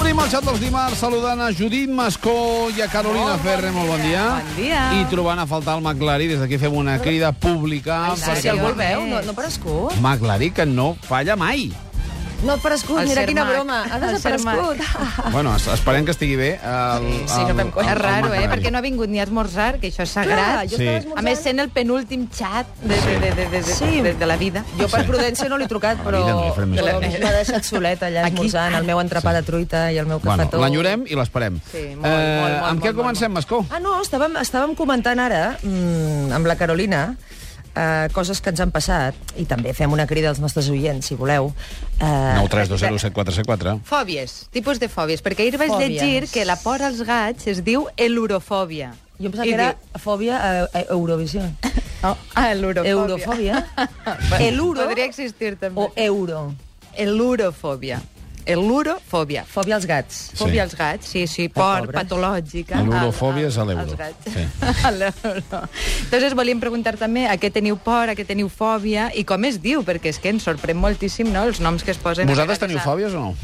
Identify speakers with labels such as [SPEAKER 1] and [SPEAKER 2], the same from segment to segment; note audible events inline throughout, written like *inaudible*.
[SPEAKER 1] Comencem el xat dels dimarts saludant a Judit Mascó i a Carolina
[SPEAKER 2] Molt bon
[SPEAKER 1] Ferre. Molt bon dia.
[SPEAKER 2] Bon dia.
[SPEAKER 1] I trobant a faltar el McLari. Des d'aquí fem una crida pública.
[SPEAKER 2] Ai,
[SPEAKER 1] perquè-
[SPEAKER 2] sí,
[SPEAKER 3] Si algú el veu, no,
[SPEAKER 2] Més.
[SPEAKER 3] no prescut.
[SPEAKER 1] McLari, que no falla mai.
[SPEAKER 3] No ha prescut,
[SPEAKER 2] El
[SPEAKER 3] mira
[SPEAKER 2] Cermat.
[SPEAKER 3] quina broma. Ha
[SPEAKER 2] El *laughs*
[SPEAKER 3] desaparegut. Ah,
[SPEAKER 2] Ah.
[SPEAKER 1] Bueno, es- esperem que estigui bé. El,
[SPEAKER 3] Sí, sí, no fem
[SPEAKER 1] el-
[SPEAKER 3] conya.
[SPEAKER 1] el
[SPEAKER 2] És raro, eh?
[SPEAKER 1] McLari.
[SPEAKER 2] Perquè no ha vingut ni a esmorzar, que això és
[SPEAKER 3] Clar,
[SPEAKER 2] sagrat.
[SPEAKER 3] jo
[SPEAKER 1] Sí.
[SPEAKER 3] estava
[SPEAKER 2] A
[SPEAKER 3] esmorzant.
[SPEAKER 2] més, sent el penúltim xat de, de, de, de, de,
[SPEAKER 3] Sí.
[SPEAKER 2] de, de la vida.
[SPEAKER 3] Jo per prudència no l'he trucat,
[SPEAKER 1] A la
[SPEAKER 3] però
[SPEAKER 1] vida no li farem més
[SPEAKER 3] però
[SPEAKER 1] cas.
[SPEAKER 3] m'ha deixat solet allà
[SPEAKER 2] Aquí.
[SPEAKER 3] esmorzant el meu entrepà de truita i el meu
[SPEAKER 1] Bueno,
[SPEAKER 3] cafetó.
[SPEAKER 1] l'enyorem i l'esperem. Eh,
[SPEAKER 2] Sí, molt, molt, molt,
[SPEAKER 1] amb què
[SPEAKER 2] molt, molt,
[SPEAKER 1] comencem, Mascó?
[SPEAKER 3] Ah, no, estàvem, estàvem comentant ara mmm, amb la Carolina eh, coses que ens han passat i també fem una crida als nostres oients, si voleu. Eh,
[SPEAKER 1] 932074474.
[SPEAKER 2] Fòbies, tipus de fòbies. Perquè ahir vaig
[SPEAKER 3] Fòbies.
[SPEAKER 2] llegir que la por als gats es diu elurofòbia.
[SPEAKER 3] Jo em pensava
[SPEAKER 2] I
[SPEAKER 3] que era
[SPEAKER 2] diu-
[SPEAKER 3] fòbia a, a Eurovisió.
[SPEAKER 2] Oh, ah, elurofòbia.
[SPEAKER 3] Eurofòbia.
[SPEAKER 2] *laughs*
[SPEAKER 3] El uro
[SPEAKER 2] Podria existir també.
[SPEAKER 3] o euro.
[SPEAKER 2] Elurofòbia. Elurofòbia.
[SPEAKER 3] Fòbia als gats.
[SPEAKER 2] Fòbia als gats, sí, sí, por
[SPEAKER 3] pobres.
[SPEAKER 2] patològica.
[SPEAKER 1] L'urofòbia
[SPEAKER 2] al-
[SPEAKER 1] és a l'euro.
[SPEAKER 2] Als gats.
[SPEAKER 1] Sí.
[SPEAKER 2] *laughs* A l'euro. Llavors volíem preguntar també a què teniu por, a què teniu fòbia i com es diu, perquè és que ens sorprèn moltíssim no, els noms que es posen. a
[SPEAKER 1] Vosaltres
[SPEAKER 2] vegades
[SPEAKER 1] teniu
[SPEAKER 2] a-
[SPEAKER 1] fòbies o no?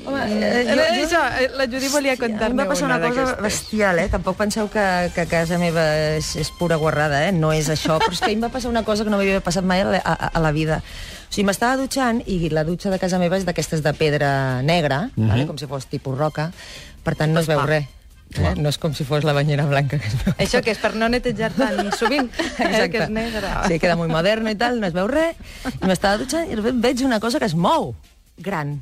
[SPEAKER 3] Home,
[SPEAKER 2] Eh, jo, jo, la Judit volia
[SPEAKER 3] A mi em
[SPEAKER 2] contar-me
[SPEAKER 3] va passar una, cosa
[SPEAKER 2] d'aquestes.
[SPEAKER 3] bestial, eh? Tampoc penseu que, que casa meva és, és pura guarrada, eh? No és això, però és que a mi em va passar una cosa que no m'havia passat mai a, la- a, a la vida. O sigui, m'estava dutxant i la dutxa de casa meva és d'aquestes de pedra negra, mm -hmm. vale? com si fos tipus roca, per tant no es veu res. Eh? No és com si fos la banyera blanca que es
[SPEAKER 2] *laughs*
[SPEAKER 3] veu.
[SPEAKER 2] Això que és per no netejar
[SPEAKER 3] *laughs*
[SPEAKER 2] tan sovint, eh, que és negra.
[SPEAKER 3] Sí, queda molt moderno i tal, no es veu res. I m'estava dutxant i de sobte veig una cosa que es mou. Gran.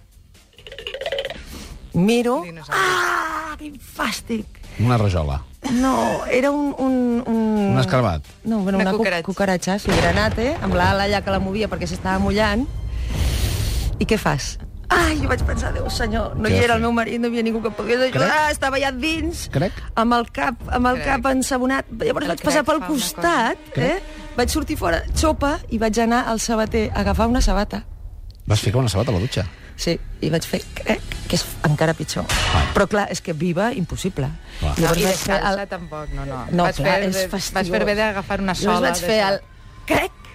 [SPEAKER 3] Miro.
[SPEAKER 2] Dinosaure.
[SPEAKER 3] Ah, quin fàstic.
[SPEAKER 1] Una rajola.
[SPEAKER 3] No, era un... Un, un...
[SPEAKER 2] Mm.
[SPEAKER 1] Un escarbat.
[SPEAKER 3] No, bueno,
[SPEAKER 2] Una
[SPEAKER 3] una,
[SPEAKER 2] cucaracha.
[SPEAKER 3] cucaratxa. cucaratxa, sí, granate, amb l'ala allà que la movia perquè s'estava mullant. I què fas? Ai, jo vaig pensar, Déu senyor, no
[SPEAKER 1] Què
[SPEAKER 3] hi
[SPEAKER 1] has
[SPEAKER 3] era el
[SPEAKER 1] fet?
[SPEAKER 3] meu marit, no hi havia ningú que pogués ajudar,
[SPEAKER 1] Crec.
[SPEAKER 3] estava allà dins,
[SPEAKER 1] Crec.
[SPEAKER 3] amb el cap, amb el
[SPEAKER 2] Crec.
[SPEAKER 3] cap ensabonat. Llavors
[SPEAKER 2] El
[SPEAKER 3] vaig passar
[SPEAKER 2] crec
[SPEAKER 3] pel
[SPEAKER 2] fa una cosa.
[SPEAKER 3] costat, eh? vaig sortir fora, xopa, i vaig anar al sabater a agafar una sabata.
[SPEAKER 1] Vas ficar una sabata a la dutxa.
[SPEAKER 3] Sí, i vaig fer crec, que és encara pitjor. Però clar, és que viva, impossible.
[SPEAKER 1] Clar.
[SPEAKER 2] No, I
[SPEAKER 3] vaig fer
[SPEAKER 2] descalça
[SPEAKER 3] el-
[SPEAKER 2] tampoc, no, no.
[SPEAKER 3] No,
[SPEAKER 2] vas
[SPEAKER 3] clar,
[SPEAKER 2] fer,
[SPEAKER 3] és
[SPEAKER 2] de- Vas
[SPEAKER 3] fastidiós.
[SPEAKER 2] fer bé d'agafar una sola.
[SPEAKER 3] Llavors vaig fer el... Crec!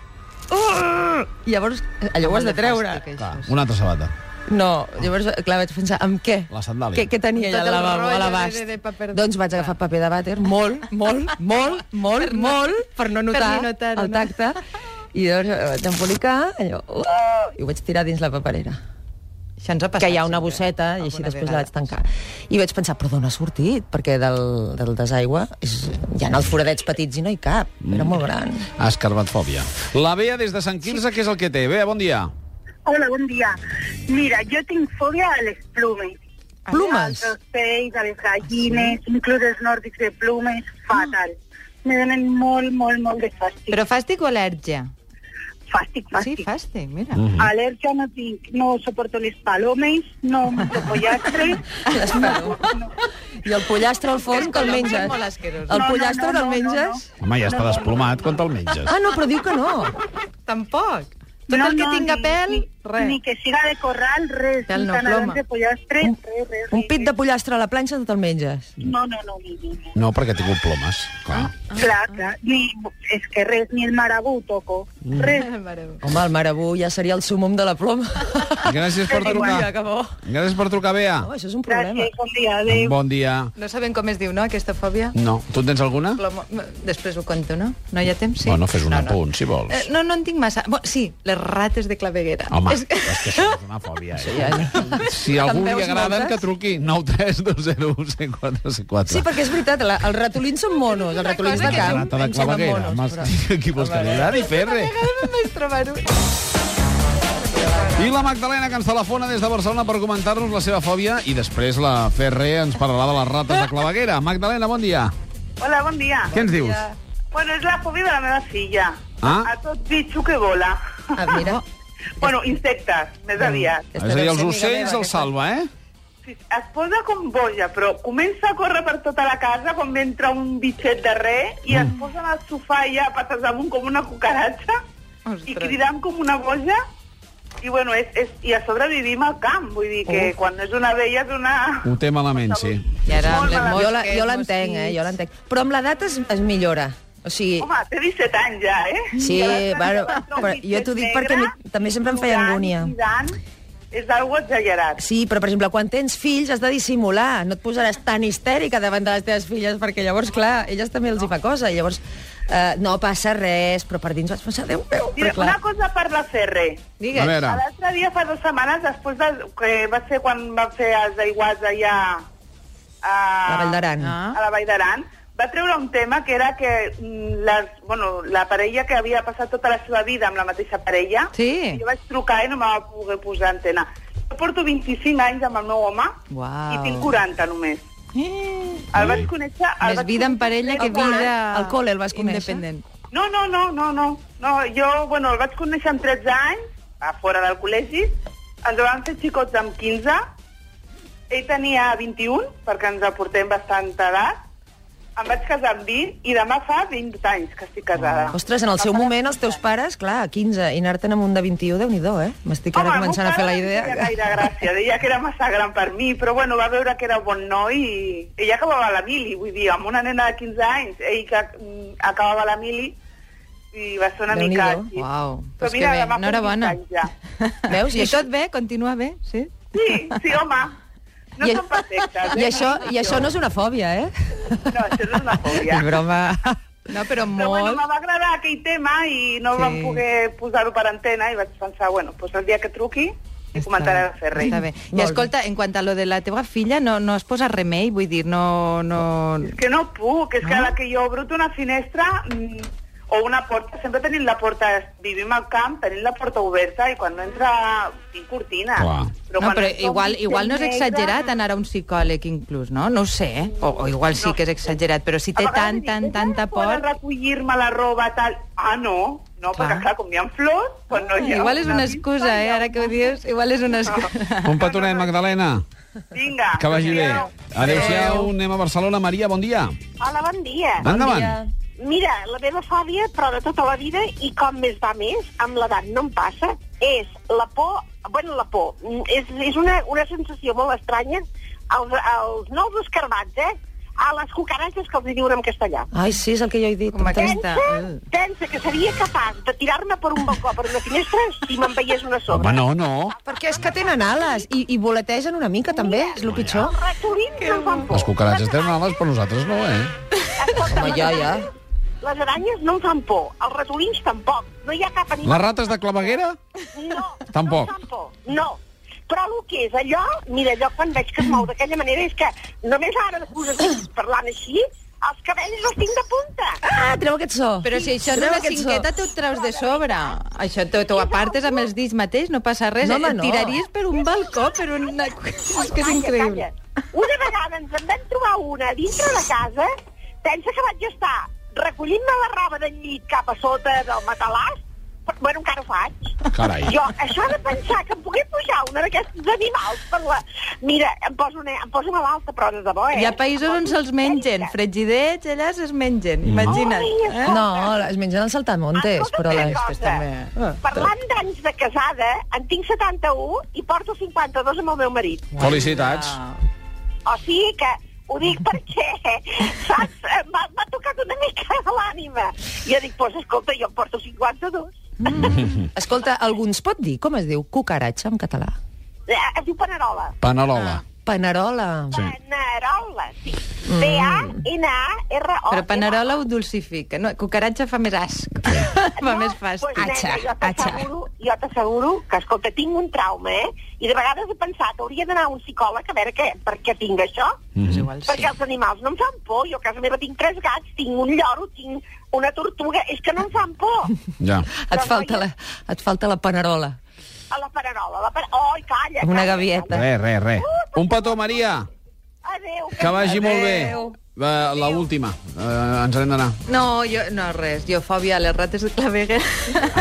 [SPEAKER 3] Uh! I llavors, allò ho has de treure.
[SPEAKER 2] eh?
[SPEAKER 1] Clar, una altra sabata.
[SPEAKER 3] No, llavors, clar, vaig pensar, amb què?
[SPEAKER 1] La sandàlia.
[SPEAKER 3] Què, què tenia
[SPEAKER 2] Tot
[SPEAKER 3] allà al
[SPEAKER 2] el
[SPEAKER 3] lavabo, a
[SPEAKER 2] rotllo
[SPEAKER 3] l'abast?
[SPEAKER 2] de- de- de paper de-
[SPEAKER 3] Doncs vaig agafar paper de vàter, molt, molt, molt, molt,
[SPEAKER 2] Per no-
[SPEAKER 3] molt, per no
[SPEAKER 2] per
[SPEAKER 3] notar,
[SPEAKER 2] ni notar-ho,
[SPEAKER 3] el
[SPEAKER 2] no?
[SPEAKER 3] tacte. I llavors eh, vaig embolicar, allò, uh, i ho vaig tirar dins la paperera.
[SPEAKER 2] Això ens ha passat.
[SPEAKER 3] que hi ha una
[SPEAKER 2] sempre,
[SPEAKER 3] bosseta, i així
[SPEAKER 2] alguna
[SPEAKER 3] després
[SPEAKER 2] vegada.
[SPEAKER 3] la vaig tancar. I vaig pensar, però d'on ha sortit? Perquè del, del desaigüe és, hi ha els foradets petits i no hi cap. Era molt gran.
[SPEAKER 1] Escarbatfòbia. La Bea des de Sant Quirze, què és el que té? Bea, bon dia.
[SPEAKER 4] Hola, bon dia. Mira, jo tinc fòbia a les plumes.
[SPEAKER 3] Plumes?
[SPEAKER 4] Als ocells, a les gallines, sí. inclús els nòrdics de plumes, fatal. Me donen molt, molt, molt de fàstic.
[SPEAKER 2] Però fàstic o al·lèrgia?
[SPEAKER 4] Fàstic,
[SPEAKER 2] Sí,
[SPEAKER 4] fàstic.
[SPEAKER 2] fàstic, mira.
[SPEAKER 1] Mm.
[SPEAKER 2] Mm.
[SPEAKER 4] Al·lèrgia no tinc, no soporto les palomes, no menjo pollastre.
[SPEAKER 3] Les
[SPEAKER 4] no, no.
[SPEAKER 3] I el pollastre al forn, que el
[SPEAKER 2] Colom és
[SPEAKER 3] menges?
[SPEAKER 2] molt asquerós.
[SPEAKER 3] El
[SPEAKER 4] No, no,
[SPEAKER 3] pollastre
[SPEAKER 4] no,
[SPEAKER 3] te'l
[SPEAKER 4] no,
[SPEAKER 3] menges?
[SPEAKER 1] Home, ja està desplomat quan te'l menges.
[SPEAKER 3] Ah, no, però diu que no.
[SPEAKER 2] Tampoc. Tot el que tinga
[SPEAKER 4] ni-
[SPEAKER 2] pèl,
[SPEAKER 4] ni,
[SPEAKER 2] res.
[SPEAKER 4] Ni que siga de corral, res.
[SPEAKER 2] Pèl
[SPEAKER 4] ni
[SPEAKER 2] no,
[SPEAKER 4] canelons
[SPEAKER 2] ploma.
[SPEAKER 4] de pollastre,
[SPEAKER 3] Un,
[SPEAKER 4] res, res,
[SPEAKER 3] un
[SPEAKER 4] res,
[SPEAKER 3] pit de
[SPEAKER 4] res.
[SPEAKER 3] pollastre a la planxa te'l menges.
[SPEAKER 4] No, no, no, no, no. no.
[SPEAKER 1] No, perquè ha tingut plomes, clar.
[SPEAKER 4] Clar, clar. Ni, és que res, ni el marabú toco. Res,
[SPEAKER 3] Home, el marabú ja seria el sumum de la ploma.
[SPEAKER 1] Gràcies per
[SPEAKER 3] Ai, mira,
[SPEAKER 1] trucar.
[SPEAKER 3] que bo.
[SPEAKER 1] Gràcies per trucar, Bea.
[SPEAKER 3] Home, Oh, això és un problema.
[SPEAKER 4] Gràcies, bon dia, adéu.
[SPEAKER 1] Bon dia.
[SPEAKER 2] No sabem com es diu, no, aquesta fòbia?
[SPEAKER 1] No. Tu en tens alguna?
[SPEAKER 2] Plomo- Després ho conto, no? No hi ha temps, sí?
[SPEAKER 1] Bueno, fes un apunt, si vols.
[SPEAKER 2] Eh, no, no en tinc massa. Bo, sí, les rates de claveguera.
[SPEAKER 1] Home, és
[SPEAKER 2] És-
[SPEAKER 1] que això és una fòbia, eh?
[SPEAKER 3] Ja, ja.
[SPEAKER 1] Si a algú
[SPEAKER 3] Te'n
[SPEAKER 1] li
[SPEAKER 3] veus
[SPEAKER 1] agraden,
[SPEAKER 3] moltes?
[SPEAKER 1] que truqui. 93201
[SPEAKER 3] Sí, perquè és veritat, la, els ratolins són monos, els ratolins de
[SPEAKER 2] cosa que
[SPEAKER 3] camp.
[SPEAKER 1] Rata de
[SPEAKER 3] em semblen
[SPEAKER 1] claveguera.
[SPEAKER 3] monos, però-
[SPEAKER 1] M'estic *laughs* equivocant. I Ferre.
[SPEAKER 2] *laughs* Cada vegada vaig trobar-ho.
[SPEAKER 1] I la Magdalena, que ens telefona des de Barcelona per comentar-nos la seva fòbia i després la Ferre ens parlarà de les rates de claveguera. Magdalena, bon dia.
[SPEAKER 4] Hola, bon dia.
[SPEAKER 1] Què ens dius?
[SPEAKER 4] Bueno, és la fòbia de la meva filla.
[SPEAKER 1] Ah.
[SPEAKER 4] A tot bitxo que vola.
[SPEAKER 3] Ah, mira.
[SPEAKER 4] *laughs* bueno, insectes, més aviat.
[SPEAKER 1] És
[SPEAKER 3] Aquesta
[SPEAKER 1] a dir,
[SPEAKER 3] deu
[SPEAKER 1] els
[SPEAKER 3] ser amiga
[SPEAKER 1] ocells
[SPEAKER 3] meva,
[SPEAKER 1] els salva, eh?
[SPEAKER 4] Sí, Es posa com boja, però comença a córrer per tota la casa quan ve entra un bitxet de res i es posa en el sofà allà, passes damunt com una cucaratxa i
[SPEAKER 2] Ostres.
[SPEAKER 4] cridant com una boja. I, bueno, és, és, i a sobre vivim al camp, vull dir que Uf. quan és una vella és una...
[SPEAKER 1] Ho té malament, sí.
[SPEAKER 2] I
[SPEAKER 4] *laughs*
[SPEAKER 2] ara amb les
[SPEAKER 4] malament.
[SPEAKER 3] Jo la-
[SPEAKER 2] mosques,
[SPEAKER 3] Jo l'entenc, eh?
[SPEAKER 2] mosquits.
[SPEAKER 3] Jo l'entenc. Però amb l'edat es, es millora. O sigui,
[SPEAKER 4] Home, té 17 anys ja, eh?
[SPEAKER 3] Sí,
[SPEAKER 4] I llavors
[SPEAKER 3] bueno,
[SPEAKER 4] entra un
[SPEAKER 3] però jo t'ho dic
[SPEAKER 4] bitxet
[SPEAKER 3] perquè
[SPEAKER 4] negre,
[SPEAKER 3] mi- també sempre em feia
[SPEAKER 4] plorant,
[SPEAKER 3] angúnia.
[SPEAKER 4] cridant, és algo exagerat.
[SPEAKER 3] Sí, però, per exemple, quan tens fills has de dissimular. No et posaràs tan histèrica davant de les teves filles, perquè llavors, clar, elles també els hi fa cosa. I llavors, eh, no passa res, però per dins vas pensar, Déu meu,
[SPEAKER 4] Mira,
[SPEAKER 3] però clar...
[SPEAKER 4] una cosa per la Ferre.
[SPEAKER 1] A
[SPEAKER 2] Digues.
[SPEAKER 1] veure.
[SPEAKER 4] A L'altre dia, fa dues setmanes, després de, que va ser quan va fer els aiguats allà a...
[SPEAKER 3] La Vall d'Aran.
[SPEAKER 2] Ah.
[SPEAKER 4] a la Vall d'Aran, va treure un tema que era que mm, les, bueno, la parella que havia passat tota la seva vida amb la mateixa parella,
[SPEAKER 2] Sí.
[SPEAKER 4] jo vaig trucar i no me va poder posar antena. Jo porto 25 anys amb el meu home
[SPEAKER 2] Uau.
[SPEAKER 4] i tinc 40 només.
[SPEAKER 2] Eh,
[SPEAKER 4] El vaig conèixer... El
[SPEAKER 2] Més
[SPEAKER 4] vaig
[SPEAKER 2] vida en parella que
[SPEAKER 4] al col·le.
[SPEAKER 2] vida...
[SPEAKER 3] Al col·le el vas conèixer?
[SPEAKER 2] Independent.
[SPEAKER 4] No, no, no, no, no. no jo, bueno, el vaig conèixer amb 13 anys, a fora del col·legi. Ens vam fer xicots amb 15. Ell tenia 21, perquè ens aportem bastanta edat. Em vaig casar amb 20 i demà fa 20 anys que estic casada.
[SPEAKER 3] Ostres, en el seu moment, els teus pares, clar, 15, i anar-te'n amb un de 21, déu nhi eh? M'estic ara
[SPEAKER 4] Home, el meu
[SPEAKER 3] començant a fer
[SPEAKER 4] pare
[SPEAKER 3] la
[SPEAKER 4] no
[SPEAKER 3] idea.
[SPEAKER 4] em feia
[SPEAKER 3] que-
[SPEAKER 4] Gaire gràcia, deia que era massa gran per mi, però bueno, va veure que era bon noi i ella acabava la mili, vull dir, amb una nena de 15 anys, ell que mm, acabava la mili i va ser una mica...
[SPEAKER 3] Déu-n'hi-do.
[SPEAKER 4] així.
[SPEAKER 2] Uau,
[SPEAKER 4] Però
[SPEAKER 2] doncs que
[SPEAKER 4] mira,
[SPEAKER 2] bé,
[SPEAKER 4] demà fa
[SPEAKER 2] enhorabona.
[SPEAKER 4] 20 anys ja.
[SPEAKER 3] *laughs* Veus?
[SPEAKER 2] I tot bé? Continua bé? Sí?
[SPEAKER 4] Sí, sí, home. No
[SPEAKER 3] I-
[SPEAKER 4] són perfectes.
[SPEAKER 3] I
[SPEAKER 4] eh?
[SPEAKER 3] això, I això no és una fòbia, eh?
[SPEAKER 4] No, això no és una fòbia.
[SPEAKER 3] *laughs* És broma.
[SPEAKER 2] No, però
[SPEAKER 4] Però bueno,
[SPEAKER 2] molt...
[SPEAKER 4] me va agradar aquell tema i no
[SPEAKER 2] Sí.
[SPEAKER 4] sí. vam poder posar-ho per antena i vaig pensar, bueno, doncs el dia que truqui i
[SPEAKER 2] Està
[SPEAKER 4] comentaré
[SPEAKER 2] bé,
[SPEAKER 4] a Ferrer.
[SPEAKER 2] Està bé. I
[SPEAKER 3] Molt
[SPEAKER 2] escolta, en quant a lo de la teva filla, no, no es posa remei? Vull dir, no... no...
[SPEAKER 4] És que no puc, és que
[SPEAKER 1] Ah.
[SPEAKER 4] a la que jo obro una finestra mm, o una porta, sempre tenim la porta, vivim al camp, tenim la porta oberta i quan no entra tinc cortina.
[SPEAKER 1] Clar.
[SPEAKER 2] no,
[SPEAKER 4] quan
[SPEAKER 2] però
[SPEAKER 4] entra un
[SPEAKER 2] igual,
[SPEAKER 4] mitjà
[SPEAKER 2] igual no és
[SPEAKER 4] negre,
[SPEAKER 2] exagerat anar a un psicòleg inclús, no? No ho sé, eh? o, o igual sí
[SPEAKER 4] No.
[SPEAKER 2] que és exagerat, però si té
[SPEAKER 4] A vegades
[SPEAKER 2] tant,
[SPEAKER 4] dic,
[SPEAKER 2] tant,
[SPEAKER 4] "Vés a
[SPEAKER 2] tanta
[SPEAKER 4] fora
[SPEAKER 2] por...
[SPEAKER 4] a recollir-me la roba, tal... Ah, no, no,
[SPEAKER 2] Clar.
[SPEAKER 4] perquè clar, com hi ha flors, quan no hi ha...
[SPEAKER 2] Igual és una
[SPEAKER 4] pista,
[SPEAKER 2] excusa,
[SPEAKER 4] hi
[SPEAKER 2] eh?
[SPEAKER 4] ha
[SPEAKER 2] Ara que ho dius, igual és una
[SPEAKER 4] *laughs*
[SPEAKER 2] excusa.
[SPEAKER 1] Un petonet, Magdalena.
[SPEAKER 4] Vinga.
[SPEAKER 1] Que vagi bé.
[SPEAKER 4] adéu.
[SPEAKER 1] Adéu-siau, anem a Barcelona. Maria, bon dia.
[SPEAKER 5] Hola, bon dia.
[SPEAKER 1] Endavant.
[SPEAKER 5] Mira, la meva fòbia, però de tota la vida, i com més va més, amb l'edat no em passa, és la por, bueno, la por, Mm, és, és una, una sensació molt estranya, els, els nous escarbats, eh? A les cucaratges que els hi diuen en castellà.
[SPEAKER 3] Ai, sí, és el que jo he dit.
[SPEAKER 2] Com aquest.
[SPEAKER 5] Pensa,
[SPEAKER 2] Està-
[SPEAKER 5] pensa que seria capaç de tirar-me per un balcó, per una finestra, si me'n veiés una sobre.
[SPEAKER 1] Home, no, no.
[SPEAKER 3] Perquè és que tenen ales i, i voletegen una mica, també, és el pitjor.
[SPEAKER 5] Els ratolins no em fan por.
[SPEAKER 1] Les cucaratges tenen ales, però nosaltres no, eh?
[SPEAKER 5] Escolta,
[SPEAKER 3] Home,
[SPEAKER 5] les
[SPEAKER 3] ja, ja.
[SPEAKER 5] aranyes- Les aranyes no em fan por, els ratolins tampoc. No hi ha cap animal...
[SPEAKER 1] Les rates de claveguera?
[SPEAKER 5] No,
[SPEAKER 1] Tampoc.
[SPEAKER 5] No, em fan por, no. Però el que és allò, mira, jo quan veig que es mou d'aquella manera és que només ara de coses parlant així, els cabells els tinc de punta.
[SPEAKER 3] Ah, treu aquest so.
[SPEAKER 2] Però si això és
[SPEAKER 3] Treu
[SPEAKER 2] una
[SPEAKER 3] aquest so.
[SPEAKER 2] cinqueta, tu et treus de sobre. Això t'ho t'ho apartes amb els dits mateix, no passa res. eh?
[SPEAKER 3] No, home,
[SPEAKER 2] Et
[SPEAKER 3] no.
[SPEAKER 2] tiraries per un balcó, per una... És que és
[SPEAKER 5] Calla,
[SPEAKER 2] increïble.
[SPEAKER 5] calla. Una vegada ens en vam trobar una a dintre de casa, pensa que vaig estar recollint-me la roba del llit cap a sota del matalàs, però, bueno, encara ho faig.
[SPEAKER 1] Carai.
[SPEAKER 5] Jo, això de pensar que em pogués pujar una d'aquests animals per la... Mira, em poso, una, em poso malalta, però de debò, eh?
[SPEAKER 2] Hi ha països on se'ls mengen, frigidets, allà se'ls mengen, imagina't.
[SPEAKER 5] Mm. Ai,
[SPEAKER 2] Eh?
[SPEAKER 3] No, es mengen els saltamontes,
[SPEAKER 5] Escolta'm
[SPEAKER 3] però...
[SPEAKER 5] una
[SPEAKER 3] Les...
[SPEAKER 5] cosa.
[SPEAKER 2] Ah,
[SPEAKER 5] Parlant d'anys de casada, en tinc 71 i porto 52 amb el meu marit.
[SPEAKER 1] Felicitats.
[SPEAKER 2] Ah.
[SPEAKER 5] O sigui que ho dic perquè, *laughs* saps, Eh, m'ha m'ha tocat una mica a l'ànima. I jo dic, doncs escolta, jo en porto 52.
[SPEAKER 3] Mm. Escolta, algú ens pot dir com es diu cucaratxa en català?
[SPEAKER 5] Eh, *laughs* Es diu Panerola.
[SPEAKER 1] Panerola.
[SPEAKER 3] Panerola.
[SPEAKER 1] Sí.
[SPEAKER 5] Panerola, sí. B-A-N-A-R-O.
[SPEAKER 2] Mm. Però panerola ho dulcifica. No, cucaratxa fa més
[SPEAKER 5] *laughs*
[SPEAKER 2] asc. Fa més fàstic.
[SPEAKER 5] Pues, nena, jo t'asseguro, jo t'asseguro que, escolta, tinc un trauma, eh? I de vegades he pensat, hauria d'anar a un psicòleg a veure què, per què tinc això.
[SPEAKER 3] Mm.
[SPEAKER 2] És igual, sí.
[SPEAKER 5] Perquè els animals no em fan por. Jo a casa meva tinc tres gats, tinc un lloro, tinc una tortuga. És que no em fan por.
[SPEAKER 1] Ja.
[SPEAKER 3] Et falta la, et falta la panerola.
[SPEAKER 5] A la pararola. La par... Oh, calla.
[SPEAKER 3] Amb una
[SPEAKER 5] calla,
[SPEAKER 3] gavieta.
[SPEAKER 1] Re, re, re. Un petó, Maria.
[SPEAKER 5] calla. Adéu.
[SPEAKER 1] Que vagi molt bé.
[SPEAKER 2] Adéu.
[SPEAKER 1] Uh, la última. Uh, ens n'hem d'anar.
[SPEAKER 2] No, jo, no, res, jo fòbia a les rates de claveguer.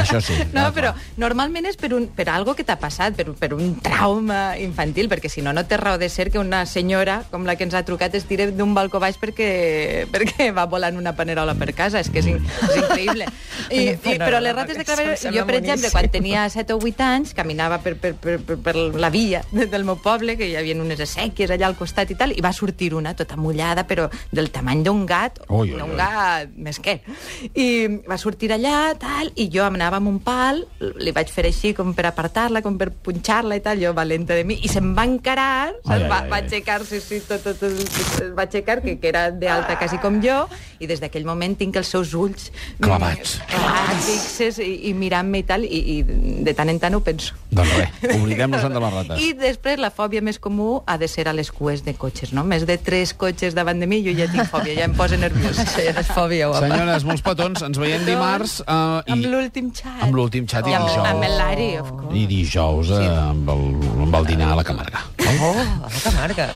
[SPEAKER 1] Això sí,
[SPEAKER 2] *laughs* No,
[SPEAKER 1] clar,
[SPEAKER 2] però normalment és per, un, per algo que t'ha passat, per, per un trauma infantil, perquè si no, no té raó de ser que una senyora com la que ens ha trucat es tire d'un balcó baix perquè, perquè va volant una panerola per casa, és que és, in-
[SPEAKER 3] *laughs*
[SPEAKER 2] és increïble. I, i,
[SPEAKER 3] Una
[SPEAKER 2] però les
[SPEAKER 3] panerola,
[SPEAKER 2] rates de
[SPEAKER 3] perquè
[SPEAKER 2] claveguer,
[SPEAKER 3] això em
[SPEAKER 2] jo, per exemple,
[SPEAKER 3] sembla boníssim.
[SPEAKER 2] quan tenia 7 o 8 anys, caminava per, per, per, per, per la *laughs* via del meu poble, que hi havia unes essèquies allà al costat i tal, i va sortir una, tota mullada, però del tamany d'un gat,
[SPEAKER 1] Ui, ui, ui.
[SPEAKER 2] d'un gat més que. I va sortir allà, tal, i jo em anava amb un pal, li vaig fer així com per apartar-la, com per punxar-la i tal, jo valenta de mi, i se'm va encarar,
[SPEAKER 1] Ai,
[SPEAKER 2] saps?
[SPEAKER 1] ai,
[SPEAKER 2] va,
[SPEAKER 1] ai,
[SPEAKER 2] va
[SPEAKER 1] ai.
[SPEAKER 2] aixecar, sí, sí, tot, tot, tot, tot, es va aixecar, que, que era d'alta quasi com jo, i des d'aquell moment tinc els seus ulls...
[SPEAKER 1] Clavats.
[SPEAKER 2] Clavats, fixes, i, i mirant-me i tal, i, i de tant en tant ho penso.
[SPEAKER 1] Doncs res, oblidem-nos-en de les rates.
[SPEAKER 2] I després la fòbia més comú ha de ser a les cues de cotxes, no? Més de tres cotxes davant de mi, jo ja tinc fòbia, ja em posa nerviosa.
[SPEAKER 3] Això ja no és fòbia, guapa.
[SPEAKER 1] Senyores, molts petons. Ens veiem dimarts. eh, i-
[SPEAKER 2] Amb l'últim xat.
[SPEAKER 1] Amb l'últim xat i
[SPEAKER 2] I amb,
[SPEAKER 1] dijous.
[SPEAKER 2] amb el Lari, of course.
[SPEAKER 1] I dijous eh, amb el, amb el dinar a la Camarga.
[SPEAKER 3] Oh, a la Camarga.